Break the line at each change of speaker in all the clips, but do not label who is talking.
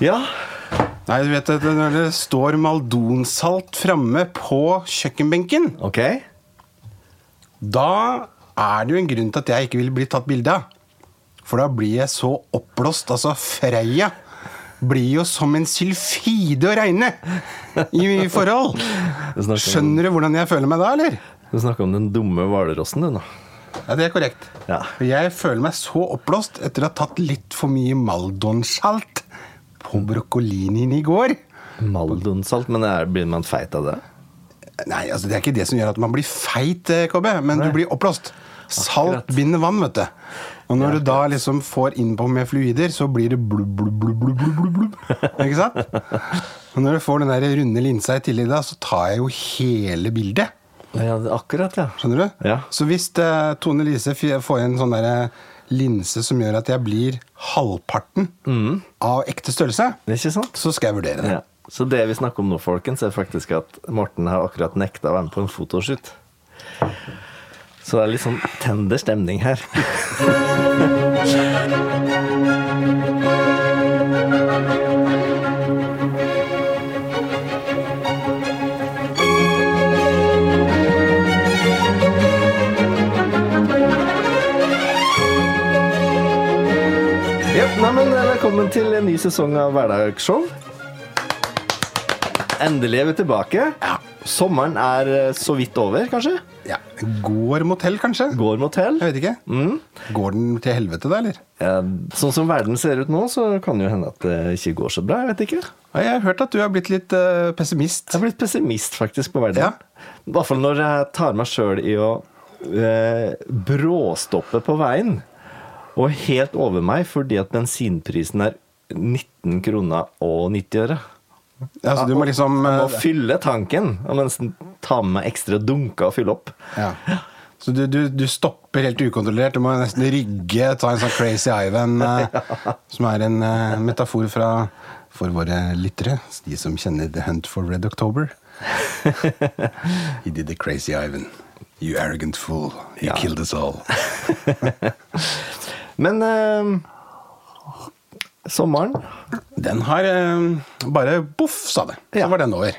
Ja.
Nei, du vet at når det står maldonsalt framme på kjøkkenbenken,
Ok.
da er det jo en grunn til at jeg ikke vil bli tatt bilde av. For da blir jeg så oppblåst. Altså, Freia blir jo som en sylfide å regne i forhold.
Du snakker om-
Skjønner du hvordan jeg føler meg da, eller?
Du snakker om den dumme hvalrossen, du nå.
Ja, det er korrekt.
Ja.
For Jeg føler meg så oppblåst etter å ha tatt litt for mye Maldonsalt på brokkolinien i går.
Maldonsalt, men er, blir man feit av det?
Nei, altså Det er ikke det som gjør at man blir feit, eh, KB, men du blir oppblåst. Salt binder vann, vet du. Og når du da liksom får innpå med fluider, så blir det blubb, blubb, blubb, blubb, blubb, blubb. Ikke sant? Og når du får den der runde linsa i tillegg, da, så tar jeg jo hele bildet.
Ja, det- akkurat, ja.
Skjønner du?
Ja.
Så hvis eh, Tone Lise f- får en sånn der linse som gjør at jeg blir halvparten av ekte størrelse,
Det er ikke sant?
så skal jeg vurdere det.
Mm. Ja. Så det vi snakker om nå, folkens, er faktisk at Morten har akkurat nekta å være med på en fotoshoot. Så det er litt sånn tender stemning her. Ja, nei, men eh, Velkommen til en ny sesong av Hverdagsshow. Endelig er vi tilbake. Sommeren er eh, så vidt over, kanskje.
Ja. Går mot hell, kanskje?
Går Mm. mot hell.
Jeg vet ikke. Går den til helvete, da, eller?
Eh, Sånn som verden ser ut nå, så kan det jo hende at det ikke går så bra. Jeg vet ikke. Jeg
Ja, Jeg har hørt at du har blitt litt eh, pessimist.
har blitt pessimist faktisk på verden.
Ja.
I hvert fall når jeg tar meg sjøl i å eh, bråstoppe på veien og helt over meg fordi at bensinprisen er 19 kroner og 90 øre.
Ja, så du må liksom
Å
eh,
fylle tanken og mens den tar med meg ekstra dunker og fylle opp.
ja. Så du, du, du stopper helt ukontrollert. Du må nesten rygge, ta en sånn Crazy Ivan, eh, som er en eh, metafor fra, for våre lyttere. De som kjenner The Hunt for Red October. He did the Crazy Ivan. You arrogant fool. You
Ja.
killed us all.
Men eh, sommeren
Den har eh, bare boff, sa det. Så
Ja.
var den over.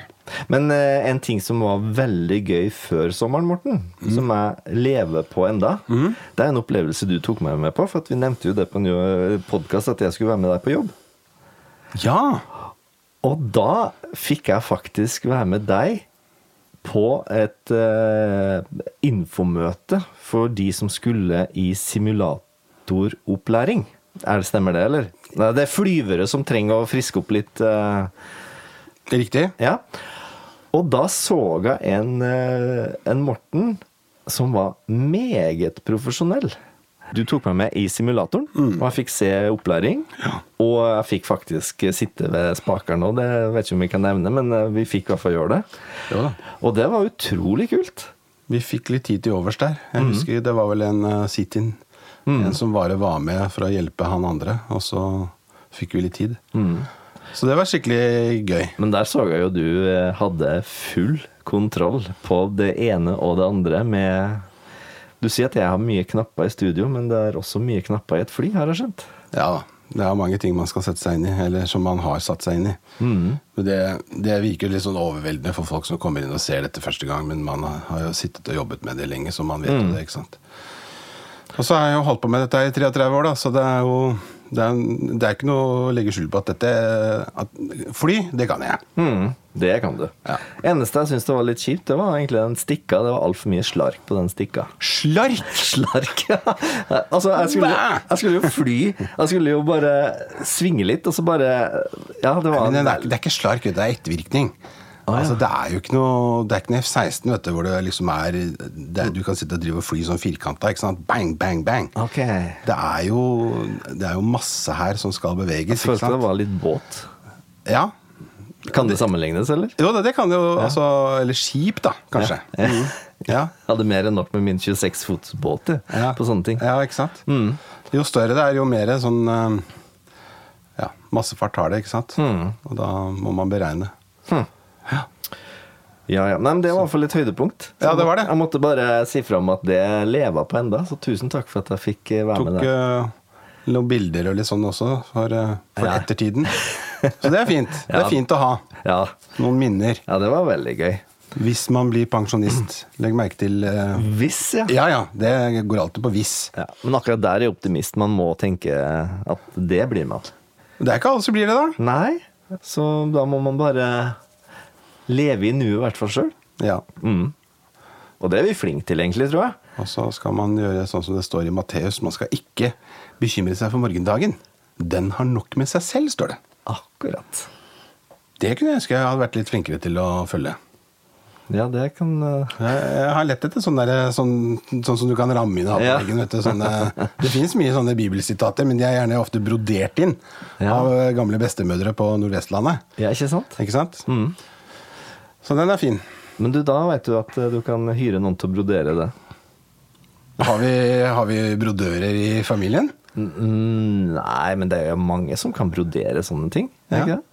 Men eh, en ting som var veldig gøy før sommeren, Morten, som jeg lever på enda, det er en opplevelse du tok meg med på. For at vi nevnte jo det på en podkast at jeg skulle være med deg på jobb.
Ja.
Og da fikk jeg faktisk være med deg på et eh, infomøte for de som skulle i simulatoropplæring. Er det Stemmer det, eller? Nei, det er flyvere som trenger å friske opp litt. eh,
Det er riktig.
ja. Og da så jeg en, eh, en Morten som var meget profesjonell. Du tok meg med i simulatoren, og jeg fikk se opplæring. Og jeg fikk faktisk sitte ved spakeren òg, det vet ikke om vi kan nevne, men eh, vi fikk i hvert fall gjøre det.
Jo da.
Og det var utrolig kult.
Vi fikk litt tid til overs der. Jeg husker det var vel en eh, sit-in. En som bare var med for å hjelpe han andre, og så fikk vi litt tid. Så det var skikkelig gøy.
Men der så jeg jo du eh, hadde full kontroll på det ene og det andre med Du sier at jeg har mye knapper i studio, men det er også mye knapper i et fly, har jeg skjønt.
Ja da. Det er mange ting man skal sette seg inn i, eller som man har satt seg inn i. Men det, det virker litt sånn overveldende for folk som kommer inn og ser dette første gang, men man har jo sittet og jobbet med det lenge, så man vet jo det, ikke sant. Og så har jeg jo holdt på med dette i 33 år, da, så det er jo det er, det er ikke noe å legge skjul på at dette at Fly, det kan jeg.
Mm, det kan du.
Ja.
Eneste jeg syns det var litt kjipt, det var egentlig den stikka. Det var altfor mye slark på den stikka.
Slark!
Slark, ja. Altså, jeg skulle, jeg skulle jo fly. Jeg skulle jo bare svinge litt, og så bare Ja, det var
Men det, er, det er ikke slark, vet du, det er ettervirkning. Altså, det er jo ikke noe Det er ikke noe F-16 vet du, hvor det liksom er, det er Du kan sitte og drive og fly sånn firkanta. Ikke sant? Bang, bang, bang.
Ok. Jeg
Det, er jo, det er jo masse her som skal beveges. Ikke
følte det
sant?
var litt båt.
Ja.
Kan det sammenlignes, eller?
Jo, det, det kan jo altså Eller skip, da, kanskje.
Ja.
Mhm. Ja.
Jeg hadde mer enn nok med min 26 fots båt jeg,
Ja.
på sånne ting. Mm.
Ja, ikke sant? Jo større det er, jo mer sånn eh, Ja, massefart har det, ikke sant?
Mm.
Og da må man beregne.
Hm. Ja, ja. Nei, men Det var i hvert fall et høydepunkt. Så
Ja, det var det.
Jeg måtte bare si fra om at det lever på enda, så tusen takk for at jeg fikk eh, være
tok
med der.
eh, noen bilder og litt sånn også, for, eh, for
Ja.
ettertiden. Så det er fint. Det
Ja.
er fint å ha
Ja.
noen minner.
ja, det var veldig gøy.
Hvis man blir pensjonist. Legg merke til eh,
Hvis, ja.
Ja ja, det går alltid på hvis.
ja. Men akkurat der er jeg optimist. Man må tenke at det blir man.
Det er ikke alle som blir det, da.
Nei, så da må man bare leve i nuet, i hvert fall sjøl.
Ja.
Mm. Og det er vi flinke til, egentlig, tror jeg.
Og så skal man gjøre sånn som det står i Matteus, man skal ikke bekymre seg for morgendagen. Den har nok med seg selv, står det.
Akkurat.
Det kunne jeg ønske jeg hadde vært litt flinkere til å følge.
Ja, det kan eh,
Jeg jeg har lett etter sånn, der, sånn, sånn som du kan ramme inn i
Ja.
hatteveggen. vet du, Sånne, det fins mye sånne bibelsitater, men de er gjerne ofte brodert inn
Ja.
av eh, gamle bestemødre på Nordvestlandet.
Ja, ikke sant?
Ikke sant?
Mm.
Så den er fin.
Men du, da veit du at eh, du kan hyre noen til å brodere det.
Har vi, har vi brodører i familien?
Mm, nei, men det er jo mange som kan brodere sånne ting. er det
Ja.
Ikke det?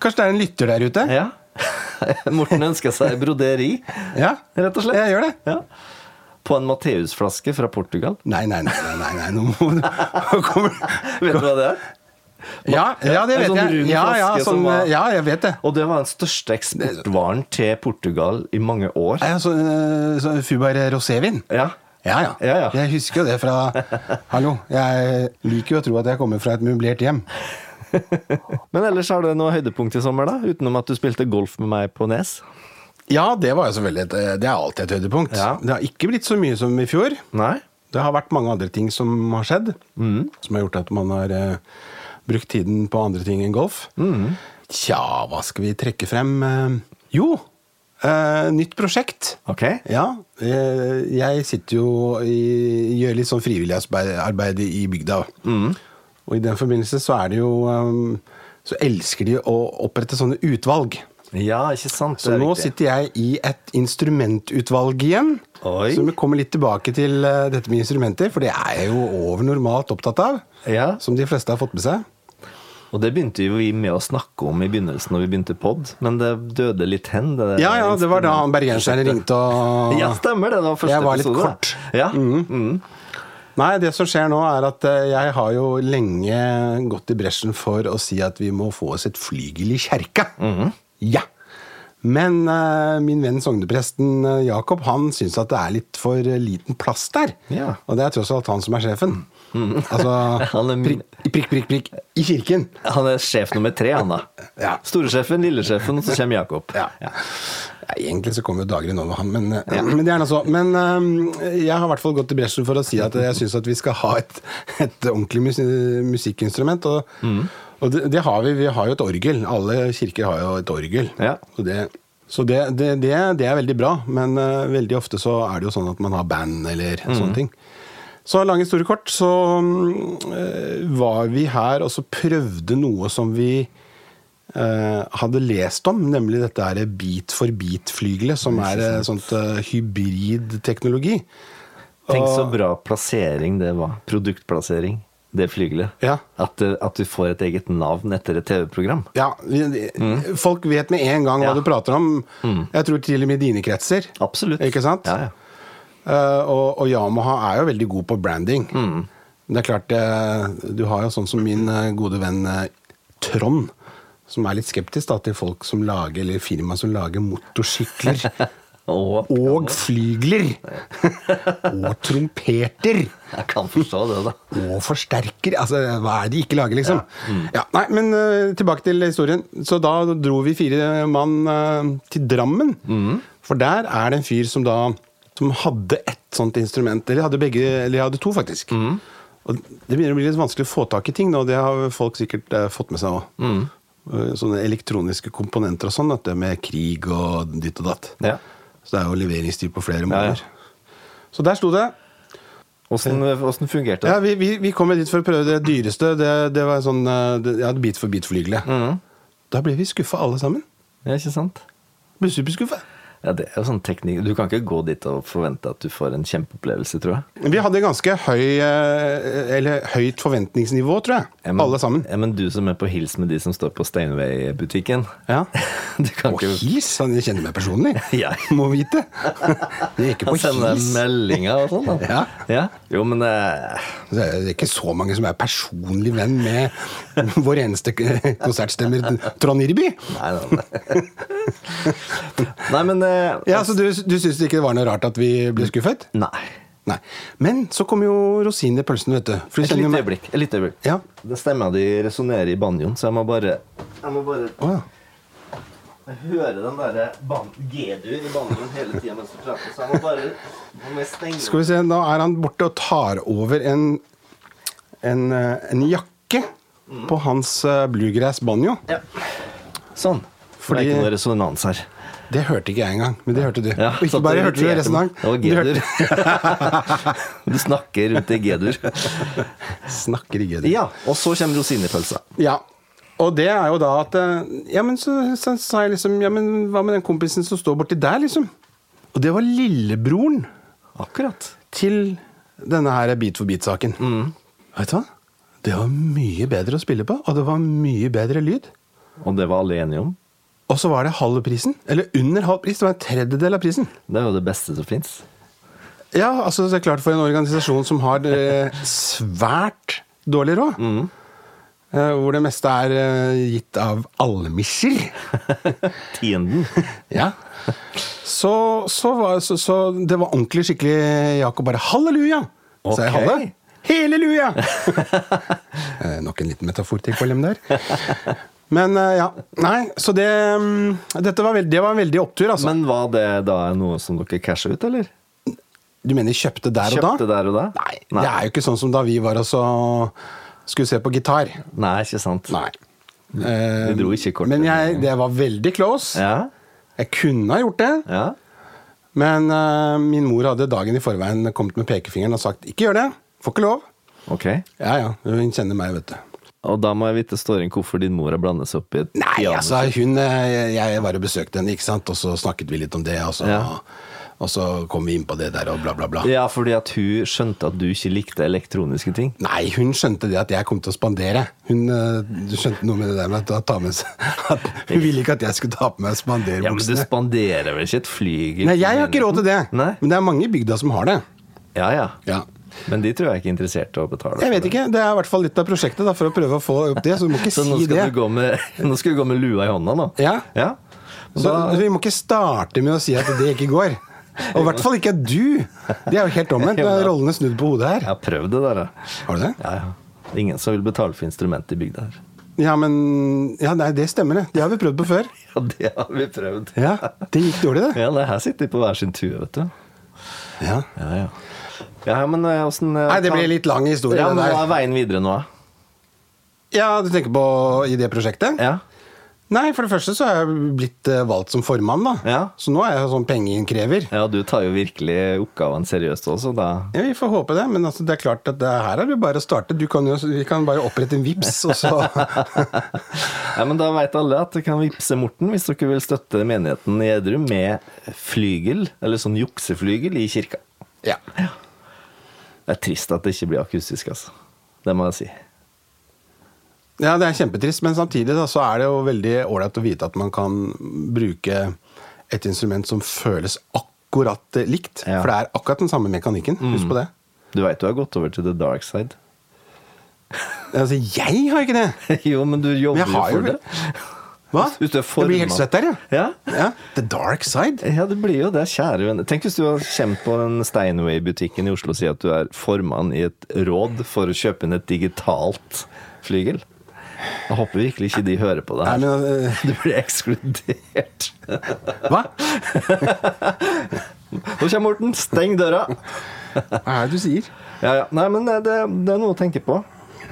Kanskje det er en lytter der ute?
Ja. Morten ønsker seg broderi,
Ja.
rett og slett.
Jeg gjør det.
Ja. På en Matteusflaske fra Portugal.
Nei, nei, nei, nei, nei, nei. nå må du nå kommer-
Vet du hva det er?
ja, ja, det
En
vet
sånn
jeg.
rund
Ja, ja,
flaske som
sånn,
var-
ja, jeg vet det.
Og det var den største eksportvaren til Portugal i mange år.
Nei, altså, eh, så Fubar rosévin.
Ja.
Ja, ja.
Ja, ja.
Jeg husker jo det fra Hallo, jeg liker jo å tro at jeg kommer fra et møblert hjem.
Men ellers har du noe høydepunkt i sommer, da? Utenom at du spilte golf med meg på Nes?
Ja, det var jo selvfølgelig et, eh, Det er alltid et høydepunkt.
Ja.
Det har ikke blitt så mye som i fjor.
Nei?
Det har vært mange andre ting som har skjedd, som har gjort at man har eh, brukt tiden på andre ting enn golf. Tja, hva skal vi trekke frem? Eh, jo, eh, nytt prosjekt.
Ok.
Ja, eh, jeg sitter jo i gjør litt sånn frivilligarbeid i bygda. Og i den forbindelse så er det jo um, Så elsker de å opprette sånne utvalg.
Ja, ikke sant?
Så nå sitter jeg i et instrumentutvalg igjen.
Oi.
Så vi kommer litt tilbake til eh, dette med instrumenter, for det er jeg jo over normalt opptatt av.
Ja,
Som de fleste har fått med seg.
Og det begynte jo vi med å snakke om i begynnelsen når vi begynte pod, men det døde litt hen. Det
Ja ja, det var da han bergenseren ringte og
Ja, stemmer det. Det var Mm. første
Jeg var litt
episode.
kort.
Ja.
Nei, det som skjer nå er at eh, jeg har jo lenge gått i bresjen for å si at vi må få oss et flygel i kjerka.
Mhm.
Ja! Men eh, min venn sognepresten eh, Jakob han syns at det er litt for eh, liten plass der.
Ja. Mhm.
Og det er tross alt han som er sjefen. Altså
Han er min-
prikk, prikk, prikk, prikk i kirken.
Han er sjef nummer tre, han da.
Ja.
Storesjefen, lillesjefen, og så kommer Jakob.
Ja. Ja, egentlig så kommer jo Dagrun over han, men, eh, men det er nå så. Men øhm, jeg har i hvert fall gått i bresjen for å si at jeg syns at vi skal ha et, et ordentlig mus musikkinstrument. Og, og det, det har vi. Vi har jo et orgel. Alle kirker har jo et orgel.
Ja.
Og det, så det, det, det, det er veldig bra, men øh, veldig ofte så er det jo sånn at man har band eller sånne ting. Så lange store kort, så øh, var vi her og så prøvde noe som vi eh, hadde lest om, nemlig dette her bit for bit-flygelet, som er eh, sånt eh, hybridteknologi.
Tenk så bra plassering det var. Produktplassering. Det flygelet.
Ja.
At, det- at du får et eget navn etter et TV-program.
Ja, vi- Folk vet med en gang
Ja.
hva du prater om. Jeg tror til og med i dine kretser.
Absolutt.
Ikke sant?
Ja, ja.
Eh, og, og Yamaha er jo veldig god på branding. Det er klart, eh, du har jo sånn som min eh, gode venn eh, Trond, som er litt skeptisk da, til folk som lager, eller firma som lager motorsykler.
Og
og flygler. og trompeter.
jeg kan forstå det, da.
Og forsterker. Altså, hva er det de ikke lager, liksom? Ja, nei, men eh, tilbake til historien. Så da dro vi fire mann eh, til Drammen.
Mhm.
For der er det en fyr som da som hadde ett sånt instrument. Eller hadde begge, eller hadde to, faktisk.
Mhm.
Og det begynner å bli litt vanskelig å få tak i ting nå, det har folk sikkert eh, fått med seg òg.
Mhm.
Sånne elektroniske komponenter og sånn, dette med krig og ditt og datt.
Ja.
Så det er jo leveringstid på flere
ja.
måneder. Så der sto det.
Åssen åssen fungerte det?
Ja, vi, vi, vi kom jo dit for å prøve det dyreste. Det, det var sånn eh, det, ja, bit
Mm.
for bit-flygelig. Da ble vi skuffa alle sammen.
Ja, ikke sant?
Ble superskuffa.
Ja, det er jo sånn teknikk Du kan ikke gå dit og forvente at du får en kjempeopplevelse, tror jeg.
Vi hadde ganske høy, eh, eller høyt forventningsnivå, tror jeg.
Ja, men-
Alle sammen.
Ja, men du som er på hils med de som står på Steinway-butikken
Ja.
Du kan
Og
ikke
his! Han kjenner meg personlig.
Ja.
Må vite. Jeg gikk
Han
på
sender
his.
meldinger og sånn. da.
Ja.
ja. Jo, men eh,
Det er ikke så mange som er personlig venn med vår eneste konsertstemmer Trond Irby.
Nei, nei, nei. nei men eh,
Ja, så Altså, du, du syns ikke det var noe rart at vi ble skuffet?
Nei.
Nei. Men så kom jo rosinen i pølsen, vet du. For du
Et
kjenner jo
lite
meg-
øyeblikk. Et lite øyeblikk.
Ja.
Det stemmer de resonnerer i banjoen, så jeg må bare Jeg må bare
Å, ja.
høre den derre ban- G-dur i banjoen hele tida mens du prater, så jeg må bare nå må jeg stenge
Skal vi se, da er han borte og tar over en, en, eh, en jakke på hans eh, bluegrass banjo.
Ja. Sånn.
Fordi-
Det er ikke noe resonans her.
Det hørte ikke jeg engang, men det hørte du.
Ja,
og ikke
satt
bare
og
hørte du
irriterte
resten av
meg.
dagen.
Det
Du
var
hørte,
G-dur. Du snakker rundt i G-dur.
snakker ikke det.
Ja, og så kommer rosinepølsa.
Ja. Og det er jo da at eh, Ja, men så, så sa jeg liksom Ja, men hva med den kompisen som står borti der, liksom? Og det var lillebroren
Akkurat.
til denne her Beat for beat-saken.
Mm.
Vet du hva? Det var mye bedre å spille på, og det var mye bedre lyd.
Og det var alle enige om.
Og så var det halve prisen. Eller under halv pris. Det var en tredjedel av prisen.
Det er jo det beste som fins.
Ja, altså det er klart for en organisasjon som har eh, svært dårlig råd. eh, Hvor det meste er eh, gitt av almisser.
Tienden.
Ja. Så, så, var, så, så det var ordentlig skikkelig Jakob bare 'halleluja'! Sa jeg
Ok.
halve? Heleluja! Eh, Nok en liten metafor til KLM der. Men eh, ja. Nei, så det mm, Dette var, veld, det var en veldig opptur, altså.
Men var det da noe som dere casha ut, eller?
du mener kjøpte der og da?
Kjøpte der og da?
Nei,
Nei,
det er jo ikke sånn som da vi var og så skulle se på gitar.
Nei ikke sant.
Nei. Eh,
Vi dro ikke kortet.
Men jeg, det var veldig close.
Ja,
Jeg kunne ha gjort det,
ja.
men eh, min mor hadde dagen i forveien kommet med pekefingeren og sagt 'ikke gjør det, får ikke lov'.
Ok.
Ja ja, hun kjenner meg, vet du.
Og da må jeg vite, Ståring, hvorfor din mor har blandet seg opp i et
Nei,
piano.
altså hun eh, Jeg var og besøkte henne, ikke sant, og så snakket vi litt om det, og så,
Ja.
og så kom vi inn på det der, og bla, bla, bla.
Ja, fordi at hun skjønte at du ikke likte elektroniske ting.
Nei, hun skjønte det at jeg kom til å spandere. Hun eh, skjønte noe med det der med at å ta med seg at Hun ville ikke at jeg skulle ta på meg
Ja, Men du
spanderbuksene.
spanderer vel ikke et flygel?
Nei, jeg har ikke råd til det.
Nei?
Men det er mange i bygda som har det.
Ja, ja.
Ja.
Men de tror jeg ikke er interessert i å betale.
Jeg vet ikke. Det er i hvert fall litt av prosjektet da, for å prøve å få opp det, så du må ikke
Så nå
si
skal,
det.
du gå med, nå skal du gå med lua i hånda, nå?
Ja.
ja.
Så, så vi må ikke starte med å si at det ikke går. Og i hvert fall ikke at du! Det er jo helt omvendt. Nå er rollene snudd på hodet
Jeg
her.
har prøvd det der, da.
Har du det?
Ja, ja. Det er Ingen som vil betale for instrument i bygda her.
Ja, men Ja, nei, det stemmer, det. Det har vi prøvd på før.
Ja, det har vi prøvd.
Ja, Det gikk dårlig, det.
Ja, nei, her sitter de på hver sin tue, vet du.
Ja.
Ja, ja. Ja, men eh, åssen eh,
Nei, det
kan-
ble litt lang historie.
Ja, men
det der.
hva er veien videre nå, da?
Ja, du tenker på i det prosjektet?
Ja.
Nei, for det første så er jeg blitt eh, valgt som formann, da.
Ja.
Så nå er jeg sånn pengeinnkrever.
ja, du tar jo virkelig oppgavene seriøst også, da.
Ja, vi får håpe det, men altså, det er klart at det, her er det bare å starte. Du kan jo, vi kan bare opprette en VIPS, og så
Ja, men da veit alle at dere kan vippse Morten hvis dere vil støtte menigheten i Edrum med flygel, eller sånn jukseflygel, i kirka.
Ja.
Det er trist at det ikke blir akustisk, altså. Det må jeg si.
ja, det er kjempetrist, men samtidig da, så er det jo veldig ålreit å vite at man kan bruke et instrument som føles akkurat eh, likt.
Ja. Mm.
For det er akkurat den samme mekanikken. Husk på det.
Du veit du har gått over til the dark side?
Altså, jeg har ikke det!
jo, men du jobber
Men jeg
jo
har jo
for det.
Hva?
Hvis du er
jeg blir helt
formann.
svett der, jeg.
Ja?
Ja. The dark side.
Ja, det blir jo det, kjære venner. Tenk hvis du har kjent på den Steinway-butikken i Oslo og sier at du er formann i et råd for å kjøpe inn et digitalt flygel. Jeg håper virkelig ikke de hører på det
Nei,
her.
men eh,
Du blir ekskludert.
Hva?
Nå kommer Morten, steng døra!
Hva er det du sier?
Ja, ja. Nei, men eh, det, det er noe å tenke på.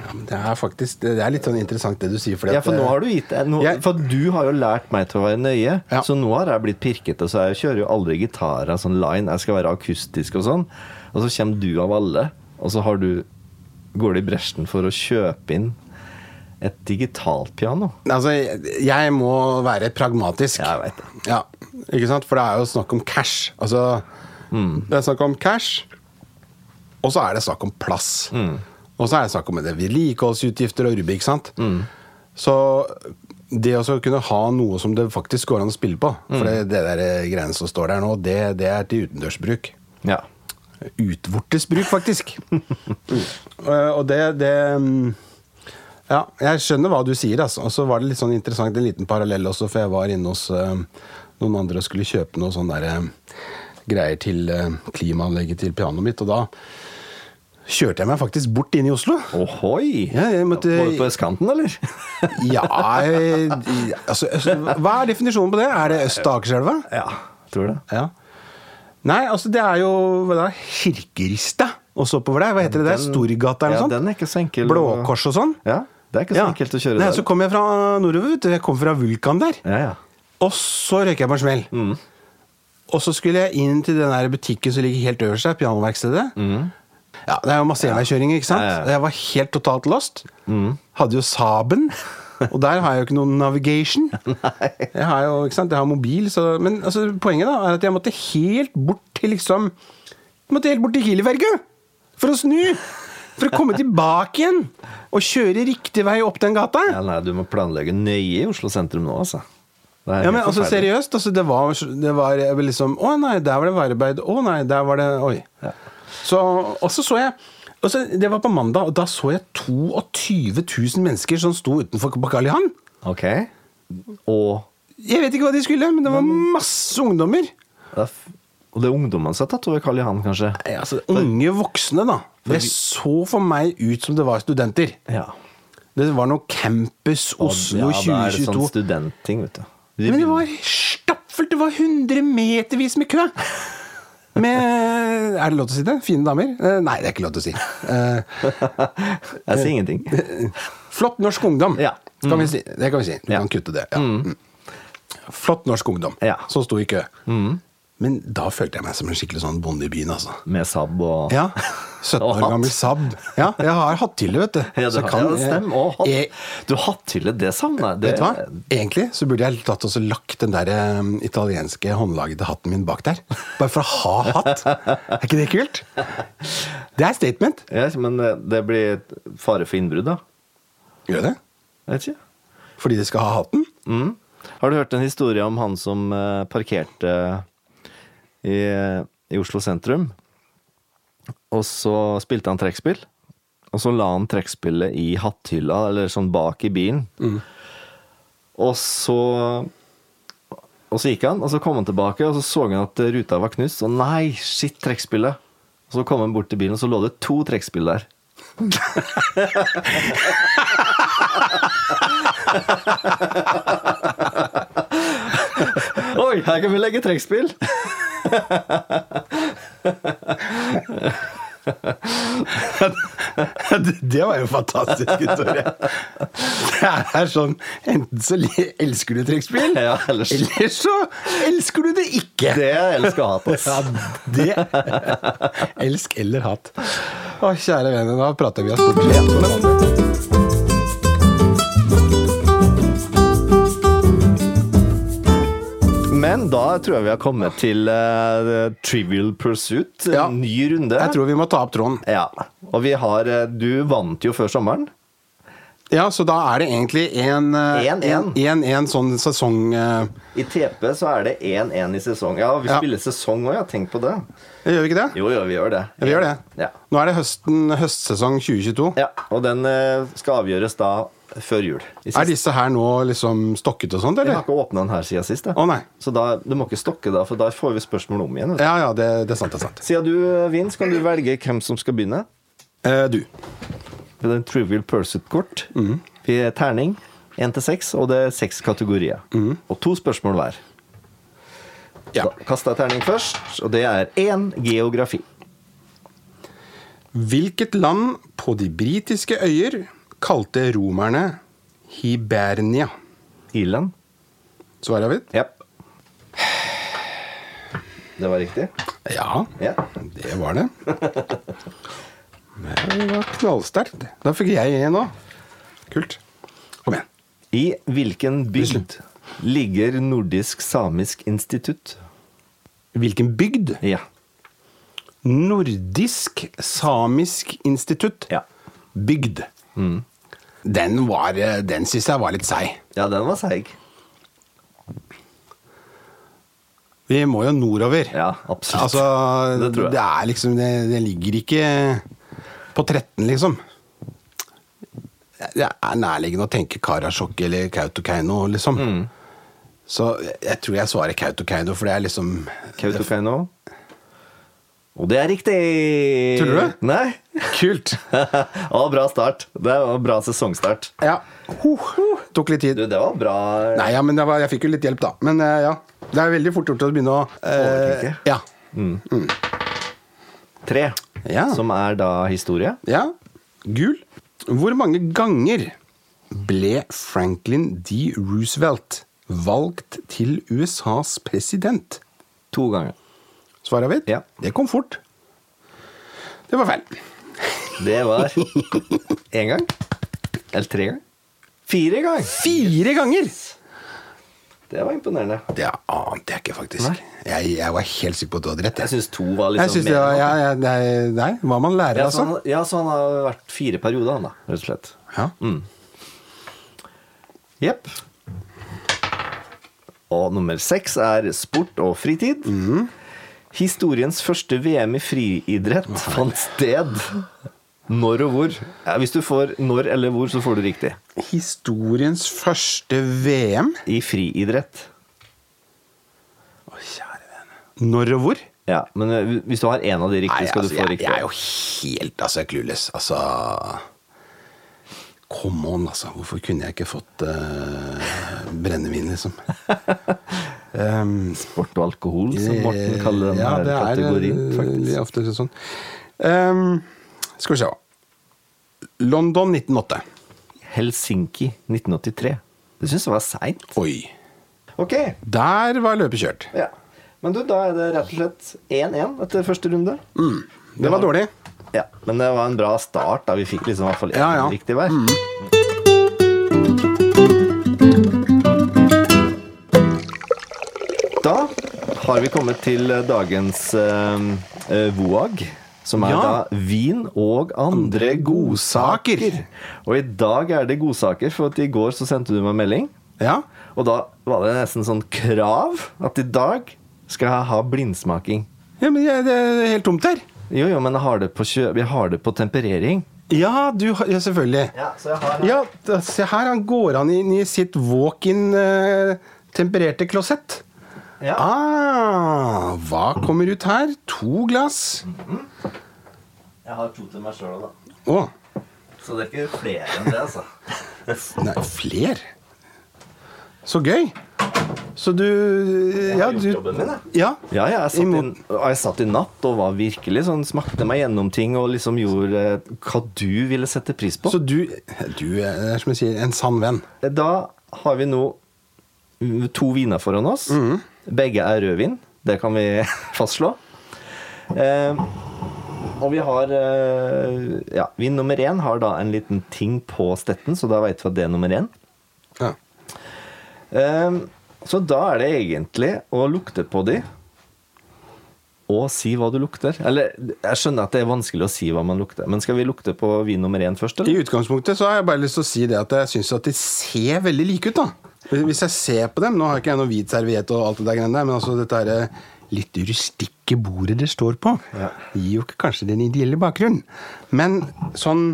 Det er faktisk det er litt sånn interessant det du sier. Fordi
Ja, For nå har du gitt nå,
eh, Jeg-
For du har jo lært meg til å være nøye,
Ja.
så nå har jeg blitt pirkete. Så jeg kjører jo aldri gitar av sånn line. Jeg skal være akustisk og sånn. Og så kommer du av alle, og så har du går du i bresjen for å kjøpe inn et
eh,
digitalt piano.
Altså, jeg må være pragmatisk.
Jeg vet det.
Ja. Ikke sant? For det er jo snakk om cash. Altså,
Mm.
Det er snakk om cash, og så er det snakk om plass.
Mm.
Og så er det snakk om det vedlikeholdsutgifter og rubbe, ikke sant.
Mm.
Så det å så kunne ha noe som det faktisk går an å spille på For
Mm.
det, det der eh, greiene som står der nå, det, det er til utendørsbruk.
Ja.
Utvortes bruk, faktisk. Eh, Og det, det mm, Ja, jeg skjønner hva du sier, altså. Og så var det litt sånn interessant, en liten parallell også, for jeg var inne hos eh, noen andre og skulle kjøpe noe sånn derre greier til eh, klimaanlegget til pianoet mitt, og da kjørte jeg meg faktisk bort inn i Oslo.
Ohoi!
Ja, jeg måtte-
Var du på østkanten, eller?
Ja eh, altså, øst- Hva er definisjonen på det? Er det Øst-Akerselva?
ja, tror det.
Ja. Nei, altså det er jo hva da, Kirkerista også oppover der. Hva heter det der? Storgata eller
Ja,
noe sånt?
den er ikke så enkel. å-
Blåkors og sånn.
Ja, det er ikke så enkelt å kjøre
Nei,
der.
Så kom jeg fra nordover, vet du. Jeg kom fra Vulkan der.
Ja, ja.
Og så røyk jeg på en smell.
Mm.
Og så skulle jeg inn til den der butikken som ligger helt øverst der, pianoverkstedet. Ja, Det er jo masse enveiskjøring, ikke
Mm.
sant?
Ja, ja, Mm. ja.
Jeg var helt totalt lost. Hadde jo Saben. Og der har jeg jo ikke noen navigation. Jeg har jo, ikke sant, jeg har mobil, så Men altså, poenget da er at jeg måtte helt bort til liksom Jeg måtte helt bort til Kieliferga! For å snu! For å komme tilbake igjen! Og kjøre riktig vei opp den gata.
ja, nei, du må planlegge nøye i Oslo sentrum nå, altså. Det er
Ja, men
helt
altså
forferdelig.
seriøst, altså, det, var, det var jeg var liksom Å nei, der var det verbeid. Å nei, der var det Oi. Så, og så så jeg og så, Det var på mandag, og da så jeg 22 000 mennesker som sto utenfor på Karl Johan.
Ok. Og
Jeg vet ikke hva de skulle, men det var masse ungdommer.
det er, f- og det er ungdommene som har tatt over Karl Johan, kanskje?
Nei, altså, Unge voksne, da. Det så for meg ut som det var studenter.
Ja.
Det var noe Campus Oslo
ja, da er det sånn
2022.
studentting, vet du. De
Men
begynner-
det var stappfullt! Det var hundremetervis med kø! Med Er det lov til å si det? Fine damer? Eh, Nei, det er ikke lov til å si. Eh,
Jeg sier ingenting.
Flott norsk ungdom,
Ja. Mm.
kan vi si. det kan vi si. Du
Ja.
kan kutte det. Ja. Mm. Flott norsk ungdom
Ja. Mm.
som sto i kø. Men da følte jeg meg som en skikkelig sånn bonde i byen, altså.
Med sabb og
Ja. 17
Og
år
hatt.
gammel Saab. Ja, jeg har hatthylle, vet du.
Ja, du,
Så kan-
ja, det stemmer. Og hatt.
Jeg,
Du hatthylle, det savner jeg. Det-
Vet du hva? Eh, Egentlig så burde jeg tatt og så lagt den der um, italienske håndlagede hatten min bak der. Bare for å ha hatt. Er ikke det kult? Det er statement.
Ja, men eh, det- det blir fare for innbrudd, da.
Gjør det?
Jeg vet ikke.
Fordi de skal ha hatten?
Mm. Har du hørt en historie om han som eh, parkerte i, i Oslo sentrum? Og så spilte han trekkspill. Og så la han trekkspillet i hatthylla, eller sånn bak i bilen. Og så Og så gikk han, og så kom han tilbake, og så så han at ruta var knust. Og nei, shit, trekkspillet! Og så kom han bort til bilen, og så lå det to trekkspill der. Oi, her kan vi legge trekkspill!
Det var jo en fantastisk historie. Det er sånn Enten så li- elsker du trekkspill,
Ja, ellers-
eller så elsker du det ikke.
Det elsker jeg hatt, ass.
Ja, det Elsk eller hat. Å, kjære vene, da prater vi oss bort.
Men da tror jeg vi har kommet til eh, Trivial Pursuit. En
Ja.
ny runde.
Jeg tror vi må ta opp tråden.
Ja. Og vi har eh, Du vant jo før sommeren.
Ja, så da er det egentlig en eh,
En, en.
en, en sånn sesong eh,
I TP så er det 1-1 i sesong. Ja, vi
Ja.
spiller sesong òg, ja. Tenk på det.
Gjør vi ikke det?
Jo, jo, vi gjør det.
Ja, vi gjør det.
Ja.
Nå er det høsten, høstsesong 2022.
ja. Og den eh, skal avgjøres da før jul. I
Er disse her nå liksom stokket og sånt,
Jeg har
eller?
ikke åpna den her siden sist. da.
Å, nei.
Så da, du må ikke stokke da, for da får vi spørsmål om igjen. vet du.
Ja, ja, det, det er sant. det er sant
Siden du vinner, så kan du velge hvem som skal begynne.
eh, Du.
Det er en Trivial Pursuit-kort.
Mhm.
Vi er terning. Én til seks, og det er seks kategorier. Og to spørsmål hver.
Mhm. Ja.
Da kaster jeg terning først, og det er én geografi.
Hvilket land på de britiske øyer kalte romerne Hibernia?
Irland.
Svaret er vidt?
Jepp. Det var riktig?
Ja.
Ja.
Det var det. Det var knallsterkt. Da fikk jeg en òg. Kult. Kom igjen.
I hvilken bygd ligger Nordisk Samisk Institutt.
Hvilken bygd?
Ja.
Nordisk Samisk Institutt.
Ja. Mm.
Bygd. Den, var, eh, den syns jeg var litt seig.
ja, den var seig.
Vi må jo nordover.
Ja, absolutt.
Altså, det,
Det tror jeg.
er liksom det, det ligger ikke på 13, liksom. Det er nærliggende å tenke Karasjok eller Kautokeino, liksom.
Mm.
Så jeg, jeg tror jeg svarer Kautokeino, for det er liksom
Kautokeino. Og det er riktig!
Tror du det?
Nei.
Kult!
Å, bra start. Det var bra sesongstart.
Ja. Huh. Tok litt tid.
Du, det var bra.
Nei, ja, men det var, jeg fikk jo litt hjelp, da. Men eh, ja. Det er veldig fort gjort å begynne å eh,
Overtenke.
Ja.
Tre,
Ja.
som er da historie.
ja. Gul. Hvor mange ganger ble Franklin D. Roosevelt valgt til USAs president?
To ganger.
Svaret mitt?
Ja.
Det kom fort. Det var feil.
Det var én gang. Eller tre ganger. Fire ganger!
Fire ganger!
Det var imponerende.
Det ante jeg ikke, faktisk.
Nei.
Jeg, jeg var helt sikker på at du hadde rett.
Jeg syns to var
Jeg
liksom
synes det
mer
var,
enn
ja,
nok.
ja, nei, nei, hva man lærer,
ja, sånn. så han,
altså.
ja, så han har vært fire perioder, han da, rett og slett.
Ja.
Mm. Jepp. Og nummer seks er sport og fritid.
Mhm.
Historiens første VM i friidrett fant sted når og hvor. Ja, hvis du får når eller hvor, så får du riktig.
Historiens første VM.
I friidrett.
Å, kjære vene. Når og hvor?
Ja, men eh, hvis du har én av de
Nei,
riktige, skal
altså,
du få
jeg,
riktig.
jeg er jo helt altså, clueless. Altså Come on, altså. Hvorfor kunne jeg ikke fått eh, brennevin, liksom? um,
Sport og alkohol, som Morten kaller den
Eh, ja,
her
det er,
kategorien.
eh,
faktisk.
ofte sånn. Ehm, skal vi se London 1908.
Helsinki 1983. Det syns jeg var seint.
Oi.
Ok,
Der var løpet kjørt.
ja. Men du, da er det rett og slett 1-1 etter første runde.
Det var dårlig.
Ja, Men det var en bra start, da vi fikk liksom i hvert fall én
Ja, ja.
riktig hver. Da har vi kommet til dagens eh, eh, VOAG, som er
Ja.
da vin og andre godsaker. Og i dag er det godsaker, for at i går så sendte du meg en melding.
Ja.
Og da var det nesten sånn krav at i dag skal jeg ha blindsmaking.
ja, men jeg, det er helt tomt her.
Jo, jo, men jeg har det på, kjø jeg har det på temperering.
Ja, du har Ja, selvfølgelig.
Ja, så jeg har
Ja, da- se her. Han går han inn i sitt walk-in eh, tempererte klosett.
Ja.
Ah, hva kommer ut her? To glass.
Jeg har to til meg sjøl òg, da.
Å,
Så det er ikke flere enn det, altså.
nei, fler. Så gøy. Så du Ja,
gjort
du
jobben min, jeg.
Ja.
Ja, ja, jeg satt,
Imot-
i, og jeg satt i natt og var virkelig sånn smakte meg gjennom ting og liksom gjorde eh, hva du ville sette pris på.
Så du Du er som jeg sier, en sann venn.
Da har vi nå to viner foran oss.
Mm.
Begge er rødvin. Det kan vi fastslå. Eh, og vi har eh, Ja, vin nummer én har da en liten ting på stetten, så da veit vi at det er nummer én.
Ja.
Eh, så da er det egentlig å lukte på de og si hva du lukter. Eller jeg skjønner at det er vanskelig å si hva man lukter, men skal vi lukte på vin nummer én først,
I
eller?
utgangspunktet så har jeg bare lyst til å si det at jeg syns at de ser veldig like ut, da. Hvis jeg ser på dem Nå har ikke jeg noe hvit serviett og alt det der greiene der, men altså dette her eh, litt rustikke bordet det står på, gir jo ikke kanskje den ideelle bakgrunnen. Men sånn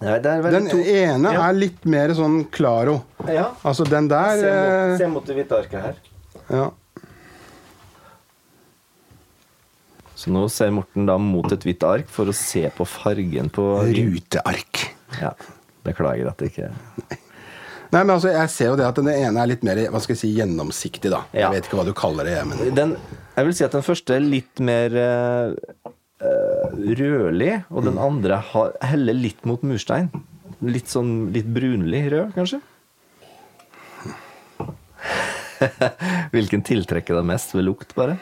Nei, det er vel
Den
to.
ene
Ja.
er litt mer sånn claro.
Ja.
Altså den der
Se mot,
eh,
se mot det hvite arket her.
ja.
Så nå ser Morten da mot et hvitt ark for å se på fargen på
Ruteark.
Ja, Beklager at det ikke
Nei, men altså, jeg ser jo det at den ene er litt mer hva skal jeg si, gjennomsiktig, da.
Ja.
Jeg vet ikke hva du kaller det, men
den, Jeg vil si at den første er litt mer eh, eh, rødlig, og den andre har, heller litt mot murstein. Litt sånn litt brunlig rød, kanskje? Hvilken tiltrekker deg mest ved lukt, bare?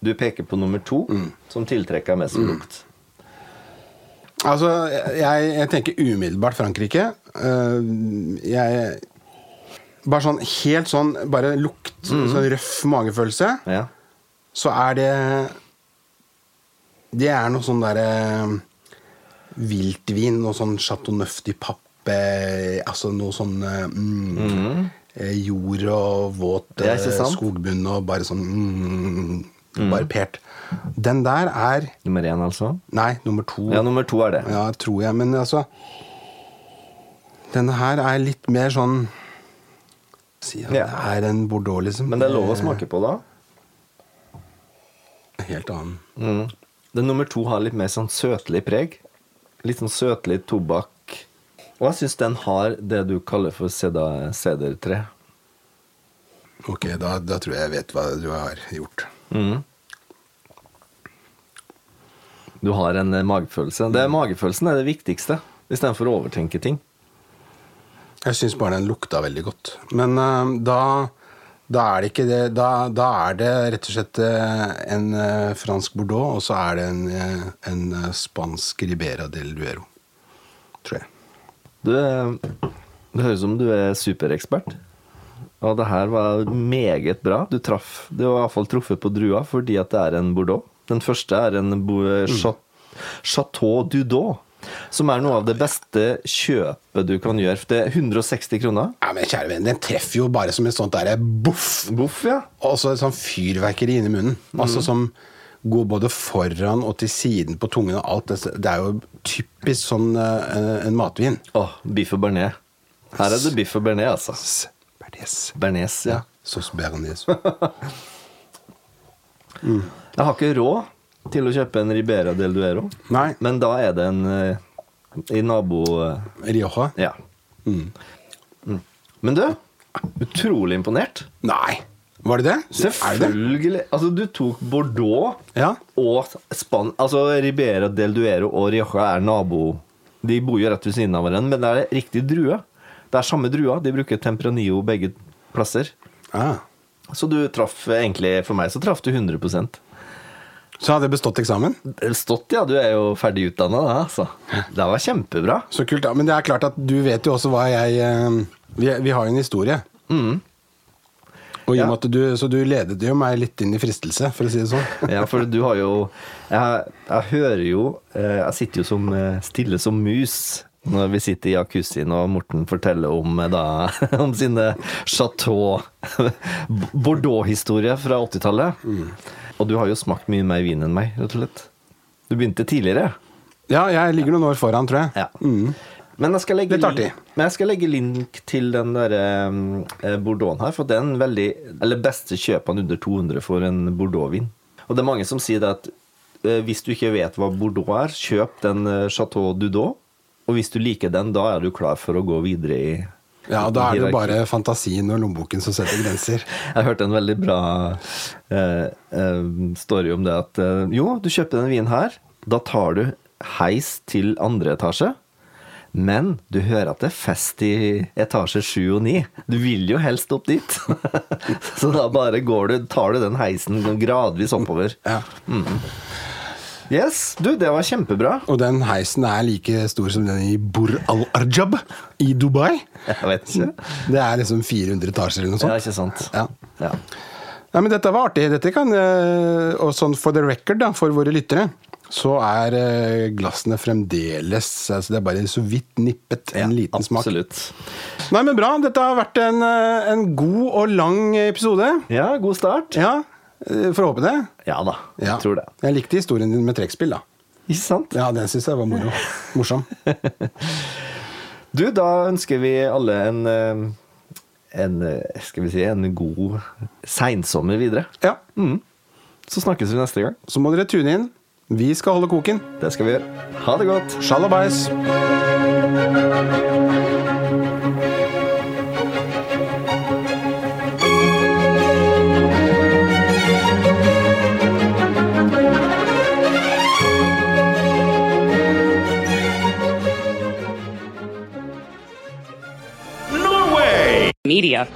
Du peker på nummer to, som tiltrekker deg mest ved lukt.
Altså, Eh, jeg, jeg tenker umiddelbart Frankrike. Øh, jeg Bare sånn helt sånn Bare lukt,
Mhm.
sånn røff magefølelse,
Ja.
så er det Det er noe sånn derre Viltvin, noe sånn Chateau Neuf-di-pappe Altså noe sånn eh, mm, eh, Jord og våt
Mhm. Ja,
eh,
ikke sant? Mhm.
skogbunn og bare sånn mm, Barbert. Den der er
Nummer én, altså.
Nei, nummer to.
Ja, nummer to er det.
Ja, tror jeg. Men altså Denne her er litt mer sånn Si at
Ja.
det er en bordeaux, liksom.
Men det er lov å smake på, da.
Helt annen.
Den nummer to har litt mer sånn søtlig preg. Litt sånn søtlig tobakk. Og jeg syns den har det du kaller for seda- sedertre.
Ok, da, da tror jeg jeg vet hva du har gjort.
Mm. Du har en eh, magefølelse. Det er Magefølelsen er det viktigste, istedenfor å overtenke ting.
Jeg syns bare den lukta veldig godt. Men eh, da, da er det ikke det da, da er det rett og slett eh, en eh, fransk bordeaux, og så er det en, eh, en eh, spansk ribera del duero. Tror jeg.
Du, eh, det høres ut som du er superekspert. Og det her var meget bra. Du traff Du har iallfall truffet på drua fordi at det er en bordeaux. Den første er en bo Cha- Chateau Dudot. Som er noe av det beste kjøpet du kan gjøre. Det er 160 kroner.
Ja, men kjære venn, den treffer jo bare som sånn et sånt derre boff!
Boff, ja.
Og så et sånn fyrverkeri inni munnen.
Mhm.
Altså som går både foran og til siden på tungen og alt. Det- Det er jo typisk sånn eh, en matvin.
Åh, biff og bearnés. Her er det biff og bearnés, altså.
S- Berdes.
Bearnés, ja.
Ja. Sauce bernaise.
Jeg har ikke råd til å kjøpe en Ribera del Duero,
Nei,
men da er det en eh, i nabo... eh,
Rioja?
Ja. Mm. Men du, utrolig imponert.
Nei! Var det det? Er det det?
Selvfølgelig. Altså, du tok Bordeaux
Ja.
og Span... Altså, Ribera del Duero og Rioja er nabo... De bor jo rett ved siden av hverandre, men det er riktig drue. Det er samme drua. De bruker Tempranillo begge plasser.
Ah.
Så du traff egentlig For meg så traff du 100
Så hadde jeg bestått eksamen.
Stått, ja. Du er jo ferdig utdanna, da, altså. Det var kjempebra.
Så kult, da. Men det er klart at du vet jo også hva jeg eh, Vi, vi har jo en historie. Og i og
Mhm. Ja.
med at du, så du ledet jo meg litt inn i fristelse, for å si det sånn.
Ja, for du har jo Jeg, jeg hører jo eh, Jeg sitter jo som, eh, stille som mus når vi sitter i jacuzzien og Morten forteller om, eh, da, om sine chateau Bordeaux-historier fra 80-tallet. Og du har jo smakt mye mer vin enn meg, rett og slett. Du begynte tidligere.
Ja, jeg ligger noen år foran, tror jeg. Mhm.
Ja. Men, jeg skal legge
Mm. Litt artig.
link- men jeg skal legge link til den der um, eh, Bordeauxen her, for det er en veldig Eller beste kjøpene under 200 for en Bordeaux-vin. Og det er mange som sier det at eh, hvis du ikke vet hva Bordeaux er, kjøp den eh, Chateau Dudot. Og hvis du liker den, da er du klar for å gå videre i
Ja, og da er det jo
hierarki.
bare fantasien og lommeboken som setter grenser.
Jeg hørte en veldig bra eh, eh, story om det at eh, jo, du kjøper denne vinen her, da tar du heis til andre etasje, men du hører at det er fest i etasje 7 og 9. Du vil jo helst opp dit. Så da bare går du, tar du den heisen gradvis oppover.
Ja.
Yes, du, det var kjempebra.
Og den heisen er like stor som den i Bur al-Arjab i Dubai.
Jeg vet ikke.
Det er liksom 400 etasjer eller
Ja,
noe sånt.
ikke sant.
Ja.
Ja.
Nei, men dette var artig. Dette kan, eh, og sånn for the record, da, for våre lyttere, så er eh, glassene fremdeles altså Det er bare så vidt nippet en liten smak.
Absolutt.
Nei, men bra. Dette har vært en, eh, en god og lang episode.
Ja, god start.
Ja, eh, får håpe det.
Ja da,
Ja.
jeg tror det.
Jeg likte historien din med trekkspill, da.
Ikke sant?
Ja, den syns jeg var moro. Morsom.
Du, da ønsker vi alle en, eh, en eh, Skal vi si en god seinsommer videre.
Ja,
Så snakkes vi neste gang.
så må dere tune inn. Vi skal holde koken.
Det skal vi gjøre. Ha det godt.
Sjalabais!
media.